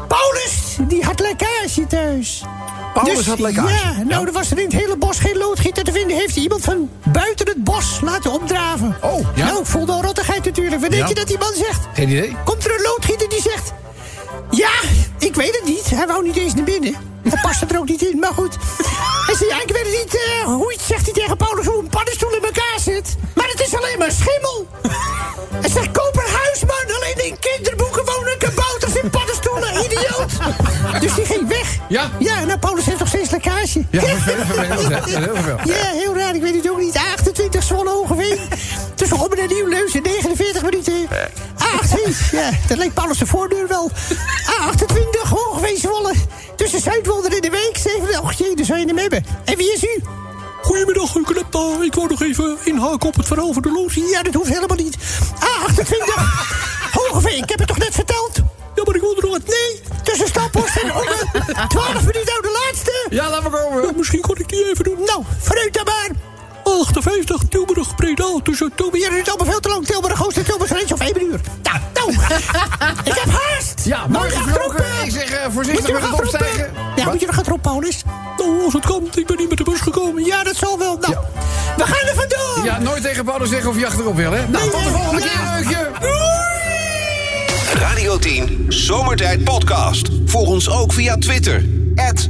M: Paulus, die had lekkage thuis. Dus,
B: Paulus had lekkage,
M: Ja, nou, er was er in het hele bos geen loodgieter te vinden. Heeft hij iemand van buiten het bos laten opdraven.
B: Oh, ja.
M: Nou, ik voelde al rottigheid natuurlijk. Wat denk
B: Ja.
M: je dat die man zegt?
B: geen idee.
M: Komt er een loodgieter die zegt... Ja, ik weet het niet. Hij wou niet eens naar binnen. Hij past er ook niet in, maar goed. Hij zei, ja, ik weet het niet. eh, hoe het- zegt hij tegen Paulus hoe een paddenstoel in elkaar zit. Maar het is alleen maar schimmel. Hij zegt, koop een huis, man. Alleen in kinderboeken wonen kabouters in paddenstoelen. Idioot. Dus die ging weg.
B: Ja.
M: Ja, nou, Paulus heeft nog steeds lekkage.
B: Ja, vervelend, vervelend, hè. Ja, heel vervelend.
M: Ja, eh, heel raar. Ik weet het ook niet. A28 Zwolle Hogeveen. Tussen Robben en Nieuwleuzen. 49 minuten. A28. Ja, dat leek Paulus de voordeur wel. A28 Hogeveen Zwolle. Tussen Zuidwolder en de Week. 7. Och jee, daar zou je hem hebben. En wie is u?
C: Goedemiddag, Eucalypta. Ik wou nog even inhaken op het verhaal van de loodsie.
M: Ja, dat hoeft helemaal niet. A28 Hogeveen. Ik heb het toch net verteld?
C: Ja, maar ik wilde nog wat...
M: Nee, tussen Staphorst en Ommen. 12 minuten nou de laatste.
B: Ja, laat maar komen.
C: Ja, misschien kon ik die even doen.
M: Nou, vooruit dan maar.
C: 58, Tilburg, Breda, tussen Tilburg...
M: Ja, dit is allemaal veel te lang. Tilburg, Oost en Tilburg, Rens of 1 uur. Nou, nou. ik heb haast.
B: Ja, mooi
M: Moet je
B: gesproken.
M: achterop, eh,
B: Ik zeg, eh,
M: moet
B: voorzichtig
M: je
B: met
M: nog
B: het
M: achterop, eh?
B: opstijgen.
M: Ja,
B: Wat?
M: moet je nog achterop, Paulus?
C: Nou, als het kan, ik ben niet met de bus gekomen.
M: Ja, dat zal wel. Nou,
B: Ja.
M: we gaan er vandoor.
B: Ja, nooit tegen Paulus zeggen of je achterop wil, hè? Nou,
M: Nee,
B: tot de
M: nee.
B: volgende
M: Ja.
B: keer, Eukje.
A: Radio 10 Zomertijd Podcast. Volg ons ook via Twitter.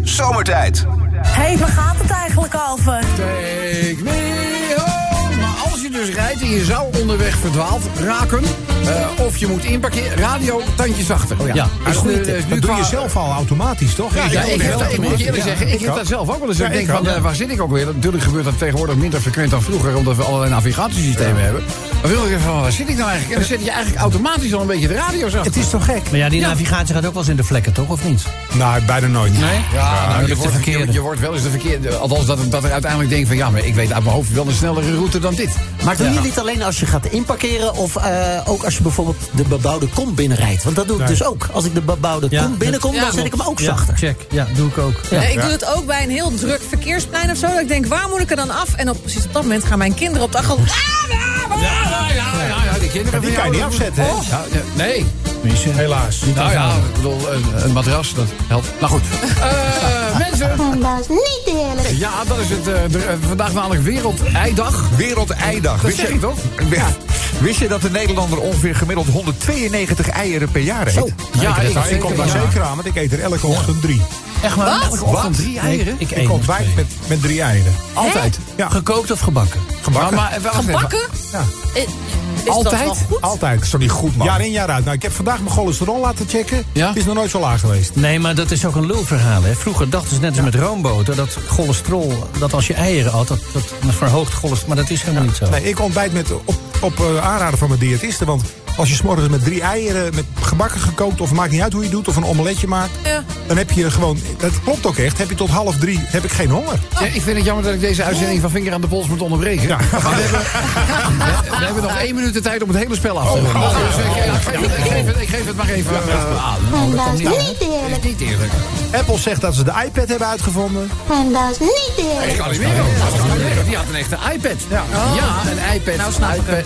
A: Zomertijd.
I: Hé, hey, waar gaat het eigenlijk over?
B: Take me home. Maar als je dus rijdt en je zou onderweg verdwaald raken... eh, of je moet inparkeren, radio, tandje zachter.
G: Oh ja. Ja,
B: Dus
G: een goede
B: de-
G: tip.
B: is nu
G: Dat doe je
B: qua-
G: zelf al automatisch, toch?
B: Ja, ja, ik, heb dat- ik moet je eerlijk
G: Ja,
B: zeggen, ik heb
G: ook.
B: dat zelf ook wel eens.
G: Ja,
B: ik denk van,
G: ook,
B: eh,
G: ja.
B: waar zit ik ook weer? Natuurlijk gebeurt dat tegenwoordig minder frequent dan vroeger, omdat we allerlei navigatiesystemen hebben. Maar wil ik even van, waar zit ik nou eigenlijk? En dan zet je eigenlijk automatisch al een beetje de radio zachter.
G: Het is toch gek?
C: Maar ja, die navigatie gaat ook wel eens in de vlekken, toch? Of niet?
G: Nou, bijna nooit.
C: Nee?
B: Ja, nou,
C: dat
B: je,
C: is de
B: wordt,
C: verkeerde.
B: je, je wordt wel eens de verkeerde. Althans, dat, dat er uiteindelijk denkt van ja, maar ik weet uit mijn hoofd wel een snellere route dan dit.
H: Maar doe je dit alleen als je gaat inparkeren of eh, ook als je bijvoorbeeld de bebouwde kom binnenrijdt? Want dat doe ik
C: Nee.
H: dus ook. Als ik de bebouwde kom binnenkom,
J: Ja,
H: dan zet ik hem
C: klopt.
H: ook
C: Ja,
H: zachter.
C: check. Ja, doe ik ook.
J: Ja, ik doe het ook bij een heel druk verkeersplein of zo. Dat ik denk, waar moet ik er dan af? En op, precies op dat moment gaan mijn kinderen op de achtergrond... Ah, ah, ah, ah.
B: Ja, ja, ja, ja, die kinderen
G: Die kan je niet afzetten, hè?
B: Ja, ja, nee.
G: Helaas.
B: Nou ja, ik bedoel, een, een matras, dat helpt. Nou goed. Eh, mensen.
E: En dat is niet eerlijk.
B: Ja, dat is het. eh, de- eh, vandaag namelijk Wereldeidag.
K: Wereldeidag.
B: Dat zeg ik toch?
K: Wist je dat de Nederlander ongeveer gemiddeld 192 eieren per jaar eet?
B: Oh. Ja, ik,
G: Nou, ik kom daar
B: ja.
G: zeker aan, want ik eet er elke ochtend drie.
C: Echt waar?
J: Wat?
C: Elke ochtend
B: Wat?
C: drie eieren?
B: Nee,
C: ik
G: Ik ontwijk met, met drie eieren.
B: Altijd.
G: Ja,
C: Gekookt of gebakken?
B: Maar,
G: gebakken. Nou,
B: maar, eh, wacht even.
J: Gebakken?
G: Ja.
J: Eh, Is
B: Altijd?
J: Dat wel goed?
G: Altijd. Sorry, goed man. Jaar in, jaar uit. Nou, ik heb vandaag mijn cholesterol laten checken.
B: Ja?
G: Het is nog nooit zo laag geweest.
C: Nee, maar dat is ook een lulverhaal. Hè. Vroeger dachten ze net als met roomboter dat cholesterol, dat als je eieren at, dat, dat verhoogt cholesterol. Maar dat is helemaal niet zo.
G: Nee, ik ontbijt met, op, op eh, aanraden van mijn diëtiste. Want als je s'morgens met drie eieren, met gebakken gekookt... of maakt niet uit hoe je het doet, of een omeletje maakt...
J: Ja.
G: dan heb je gewoon... Dat klopt ook echt. Heb je tot half drie heb ik geen honger.
B: Ja, ik vind het jammer dat ik deze uitzending van Vinger aan de Pols moet onderbreken.
G: Ja.
B: Maar we hebben, we, we hebben nog één minuut de tijd om het hele spel af te
K: Oh,
B: ronden. Dus ik, ja, ik geef het- ik geef het- ik geef het maar even eh, aan.
E: En dat Oh, is niet
B: Dat is
E: eerlijk.
B: niet eerlijk.
G: Apple zegt dat ze de iPad hebben uitgevonden.
E: En dat is niet eerlijk.
B: Die had een echte iPad. Ja,
J: Ah,
B: een iPad. Nou snap ik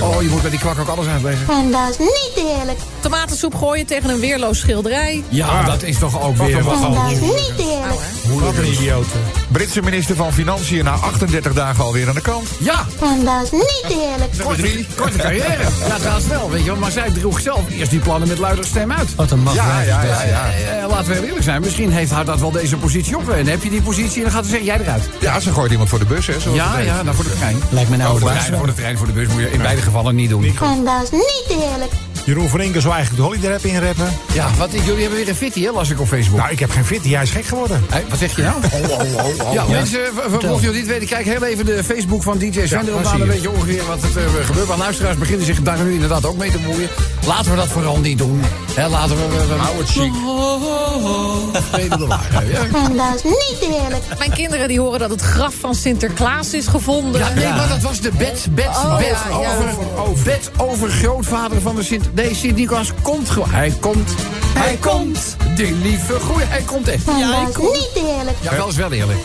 B: Oh, je moet bij die kwak ook alles uitleggen.
E: En dat is niet eerlijk.
J: Tomatensoep gooien tegen een weerloos schilderij. Ah.
B: Ja, dat is toch ook weer wat.
E: En dat is niet eerlijk.
G: Wat een idioot.
K: Britse minister van Financiën na 38 dagen alweer aan de kant.
B: Ja,
E: En dat is niet eerlijk.
B: korte, korte carrière. Ja, dat gaat snel, weet je wel. Maar zij droeg zelf eerst die plannen met luider stem uit.
C: Wat een macht.
K: Ja, ja, ja. ja.
B: Eh, laten we heel eerlijk zijn, misschien heeft haar dat wel deze positie op. En heb je die positie en dan gaat ze zeggen, jij eruit.
K: Ja, ze gooit iemand voor de bus, hè? zoals
B: Ja,
K: het heet.
B: ja, nou voor de trein.
C: Lijkt me nou
B: voor de
C: ook
B: trein, voor de trein, voor de bus moet je in beide gevallen niet doen.
E: En dat is niet eerlijk.
G: Jeroen van Inkel zou eigenlijk de holiday rap inrappen.
B: Ja, wat, jullie hebben weer een fitty, hè, las ik op Facebook.
G: Nou, ik heb geen fit. Hij is gek geworden.
B: Hé, wat zeg je nou? Ja, mensen, v- v- mocht je het niet weten, kijk heel even de Facebook van DJ Zender op.
G: daar
B: aan. Dan
G: zie je
B: weet je ongeveer wat er eh, gebeurt. Maar luisteraars beginnen zich daar nu inderdaad ook mee te bemoeien. Laten we dat vooral niet doen. Hè, laten we... we, we Hou het chic. de waarheid, ja.
E: En dat is niet eerlijk.
J: Mijn kinderen die horen dat het graf van Sinterklaas is gevonden.
B: Ja, nee, maar dat was de bed, bed,
J: Oh,
B: bed,
J: ja, ja.
B: Over, over, bed over grootvader van de Sint... Nee, Sint-Nicolaas komt gewoon. Hij komt. Hij komt. Die lieve goeie, hij komt echt.
E: En dat is niet eerlijk.
B: Ja, wel is wel eerlijk.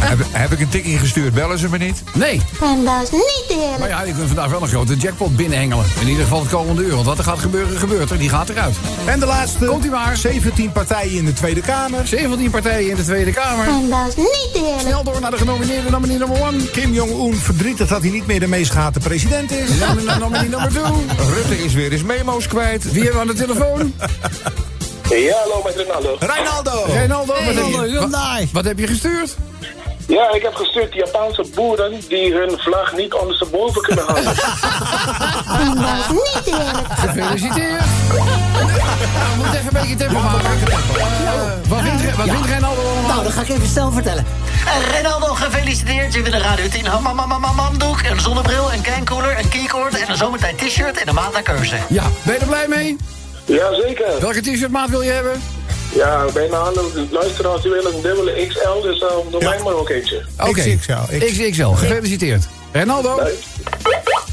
K: Heb, heb ik een tik ingestuurd, bellen ze me niet?
B: Nee,
E: En dat is niet
B: maar
E: eerlijk.
B: ja, je kunt vandaag wel een grote jackpot binnenhengelen. In ieder geval het komende uur, want wat er gaat gebeuren, gebeurt er. Die gaat eruit.
G: En de laatste.
B: Komt-ie maar.
G: 17 partijen in de Tweede Kamer.
B: 17 partijen in de Tweede Kamer.
E: En dat is niet eerlijk.
B: Snel door naar de genomineerde nominee nummer 1.
G: Kim Jong-un verdrietig dat hij niet meer de meest gehate president is.
B: Nominee nummer 2.
E: Oh.
K: Rutte is weer eens memo's kwijt.
B: Wie hebben we aan de telefoon?
N: Ja, hallo met Ronaldo.
G: Reinaldo.
B: Reinaldo, wat, heb
C: Ronaldo,
B: je-
C: Hyundai.
B: wat- wat heb je gestuurd?
N: Ja, ik heb gestuurd Japanse boeren die hun vlag niet ondersteboven kunnen houden.
E: En
B: Nou,
E: dat is niet eerlijk.
B: Gefeliciteerd. We moeten even een beetje tempo maken. Eh, wat wint, Re- wat wint Reinaldo allemaal?
H: Nou, dat ga ik even snel vertellen. Eh, Renaldo, gefeliciteerd. Je wint een Radio 10 ham- ham- ham- ham- hamdoek, een zonnebril, een kenkoeler, een keycord en een zomertijd t-shirt en een maand naar keuze.
B: Ja, ben je er blij mee?
N: Jazeker.
B: Welke t-shirt maat wil je hebben?
N: Ja, bijna alle luisteraars die willen een dubbele XL, dus eh, doe mij maar ook eentje.
B: Oké.
G: XXL.
B: XXL, gefeliciteerd. Reinaldo,
N: Nee.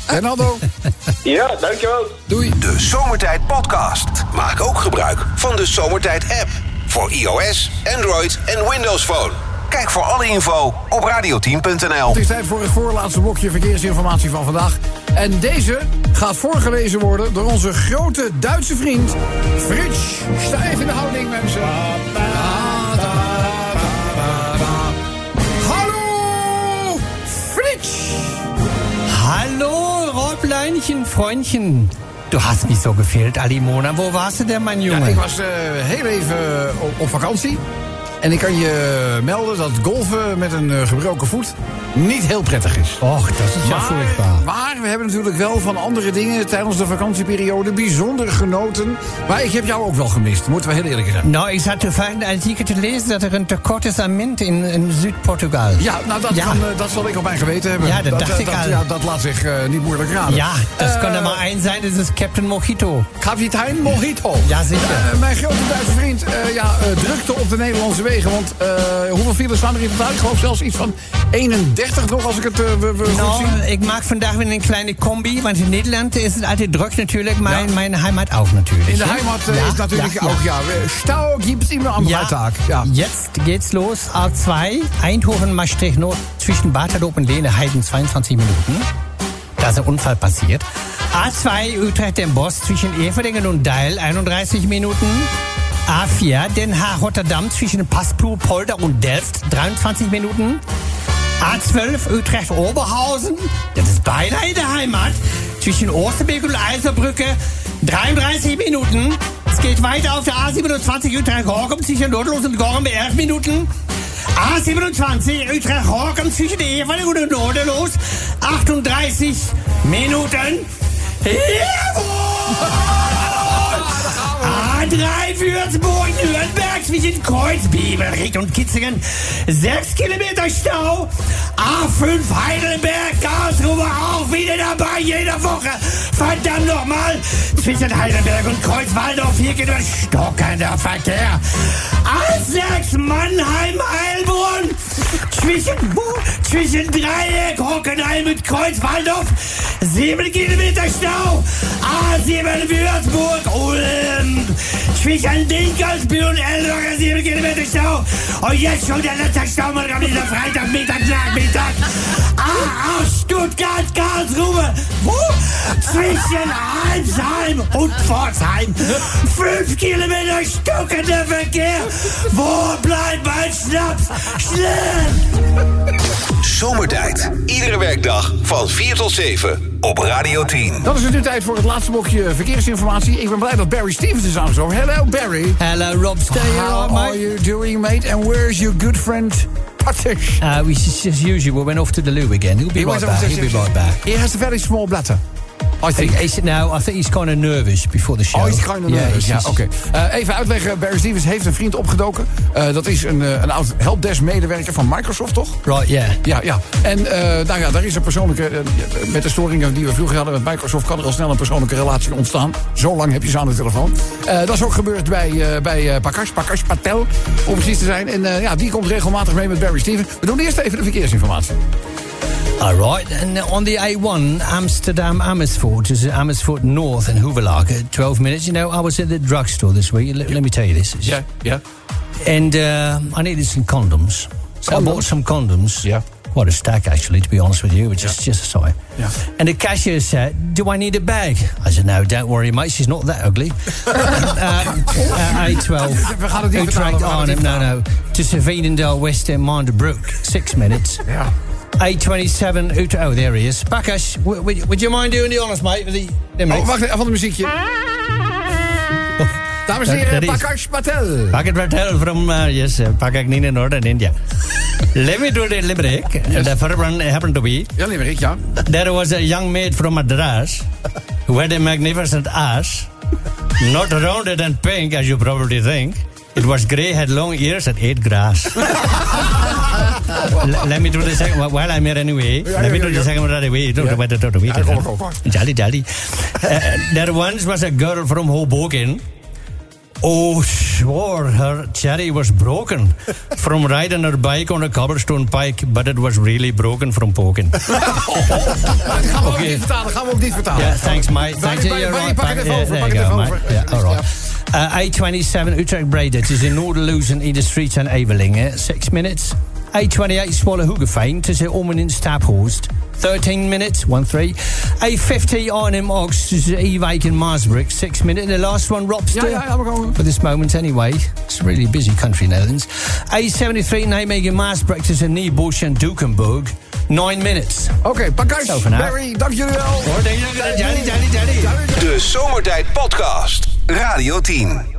B: Reinaldo,
N: Ja, dankjewel.
B: doei.
A: De Zomertijd Podcast. Maak ook gebruik van de Zomertijd app. Voor iOS, Android en Windows Phone. Kijk voor alle info op radioteam.nl.
B: Het is tijd voor het voorlaatste blokje verkeersinformatie van vandaag. En deze gaat voorgelezen worden door onze grote Duitse vriend Frits. Sta even in de houding, mensen. Hallo, Frits.
C: Hallo, Räubleintchen, Freundchen. Du hast mich so gefehlt, Alimona. Wo warst du denn, mein
B: Ja,
C: Junge?
B: ik was eh, heel even eh, op, op vakantie. En ik kan je melden dat golven met een eh, gebroken voet niet heel prettig is.
C: Och, dat is ja furchtbaar.
B: Maar we hebben natuurlijk wel van andere dingen tijdens de vakantieperiode bijzonder genoten. Maar ik heb jou ook wel gemist, moeten we heel eerlijk zijn.
C: Nou, ik zat te fijn artikel te lezen dat er een tekort is aan mint in, in Zuid-Portugal.
B: Ja, nou dat,
C: Ja.
B: kan, eh, dat zal ik op mijn geweten hebben.
C: Ja, dat dacht ik al.
B: Ja, dat laat zich eh, niet moeilijk raden.
C: Ja, dat
B: Eh,
C: kan er maar één zijn, dat is Captain Mojito.
B: Kapitein Mojito.
C: Ja, zeker.
B: Eh, mijn grote Duitse vriend, eh, ja, eh, drukte op de Nederlandse wegen. Want eh, hoeveel files staan er in totaal? Ik geloof zelfs iets van 31 nog, als ik het eh, we- we goed
C: Nou,
B: zie.
C: ik maak vandaag weer een kleine combi, want in Nederland is het altijd druk natuurlijk, maar in mijn heimat ook natuurlijk.
B: In de
C: hè?
B: heimat eh, is natuurlijk ook, ja. eh, Stau gibt es immer am Freitag. Ja.
C: Jetzt geht's los. A2, Eindhoven, Maastricht, Nord, zwischen Bartelop und Leenheiden, 22 Minuten. Da ist ein Unfall passiert. A2, Utrecht, den Bosch, zwischen Everdingen und Deil, 31 Minuten. A4, Den Haag, Rotterdam, zwischen Passplu, Polder und Delft, 23 Minuten. A12, Utrecht, Oberhausen, das ist beinahe in der Heimat, zwischen Osterbeek und Eiserbrücke, 33 Minuten. Es geht weiter auf der A27 Utrecht-Horkum zwischen Nordlos und Gorm, 11 Minuten. A27 Utrecht-Horkum zwischen Everdingen und Norderlos, 38 Minuten. Jawohl! A3 Würzburg, Nürnberg zwischen Kreuzbibel, Ried und Kitzingen. 6 Kilometer Stau. A5 Heidelberg, Karlsruhe auch wieder dabei, jede Woche. Verdammt nochmal. Zwischen Heidelberg und Kreuzwaldorf hier geht ein stockender Verkehr. A6 Mannheim, Heilbronn. Zwischen, zwischen Dreieck, Hockenheim mit Kreuzwaldorf. 7 Kilometer Stau. A7 Würzburg, Ulm. Zwischen Dinkelsbühl und Elberger 7 Kilometer Stau. Und jetzt schon der letzte Stau, man kommt dieser Freitag, Mittag, Nachmittag. A8 Stuttgart, Karlsruhe. Wo? Zwischen Almsheim und Pforzheim. 5 Kilometer stockender Verkehr. Wo bleibt mein Schnaps? Schnell!
A: Zomertijd. Iedere werkdag van 4 tot 7 op Radio 10.
B: Dan is het nu tijd voor het laatste blokje verkeersinformatie. Ik ben blij dat Barry Stevens is aangeschoven. Hello Barry.
C: Hello, Rob. Stay
B: How are you doing, mate? And where's your good friend Patish?
C: Uh, we just, as usual, went off to the loo again. He'll be
B: He
C: right
B: went off
C: back.
B: to-
C: He'll be right back.
B: He has a very small bladder. I
C: He,
B: think.
C: he's, now, I think he's kind of nervous before the show.
B: Oh, is het kind of nervous. Ja,
C: he's-
B: oké. Eh, even uitleggen. Barry Stevens heeft een vriend opgedoken. Eh, dat is een, eh, een oud helpdesk-medewerker van Microsoft, toch?
C: Right, yeah.
B: Ja, ja. En eh, nou ja, daar is een persoonlijke... eh, met de storingen die we vroeger hadden met Microsoft... kan er al snel een persoonlijke relatie ontstaan. Zo lang heb je ze aan de telefoon. Eh, dat is ook gebeurd bij, eh bij eh Prakash, Prakash Patel, om precies te zijn. En eh, ja, die komt regelmatig mee met Barry Stevens. We doen eerst even de verkeersinformatie.
C: All right, and on the A1, Amsterdam Amersfoort, is Amersfoort North and Hoevelaken, 12 minutes. You know, I was at the drugstore this week. Let, let me tell you this.
B: Ja, ja.
C: And uh, I needed some condoms. So I bought some condoms.
B: Yeah.
C: Quite a stack, actually, to be honest with you, which is just a sigh.
B: Yeah.
C: And the cashier said, Do I need a bag? I said, No, don't worry, mate. She's not that ugly. um, uh, A12.
B: We gaan het niet vertalen,
C: Utrecht,
B: we gaan het
C: Arnhem,
B: niet
C: no, no. To Saveenendale, West End, Minderbrook. Six minutes.
B: Ja.
C: A27, Utrecht. Oh, there he is. Bakash, w- w- would you mind doing the honors, mate? with The, the
B: Oh,
C: mix?
B: wacht even, van het muziekje. Dames en
C: Dat-
B: heren,
C: dat is-
B: Prakash Patel.
C: Pak het vertel from uh, yes, uh, Pakak Nina North and India. Let me do the limerick. The first one happened to be
B: Ja, Limerick, ja.
C: there was a young maid from Madras who had a magnificent ass, not rounded and pink as you probably think. It was grey, had long ears, and ate grass. L- let me do the second one while I'm here anyway. let me do the second one right away. Don't yeah. matter, don't matter.
O: kom maar, kom maar.
C: Jolly, jolly. Uh, there once was a girl from Hoboken. Oh, swore her cherry was broken from riding her bike on a cobblestone pike, but it was really broken from poking.
B: Dat gaan we ook
C: Oké.
B: niet vertalen, gaan we ook niet vertalen.
C: Yeah, thanks, mate. Thanks. eh,
B: Barry,
C: you're
B: Barry,
C: right,
B: pak het
C: Barry.
B: even
C: Yeah,
B: over,
C: there you
B: pak het
C: go, mate.
B: even over.
C: Yeah, all right. Uh, A27 Utrecht Breda tussen Noorderloos en Ede-Street en Evelingen, 6 Uh, minutes. A28 Zwolle Hoogeveen tussen Ommen en Staaphorst, 13 minutes, 1-3. A50 Arnhem Ox tussen Ewijk en Maasbrück, 6 minutes. And the last one, Ropster.
B: Ja, ja, ja, we gaan.
C: For this moment, anyway. It's a really busy country, Netherlands. A73 Nijmegen Maasbrück tussen Niebusch en Dukenburg, 9 minutes.
B: Oké, Prakash,
C: Zo vandaag.
B: Barry, dank jullie wel.
C: Hoor, denk je dat- Jolly, jolly, jolly.
A: De Zomertijd Podcast. Radio 10.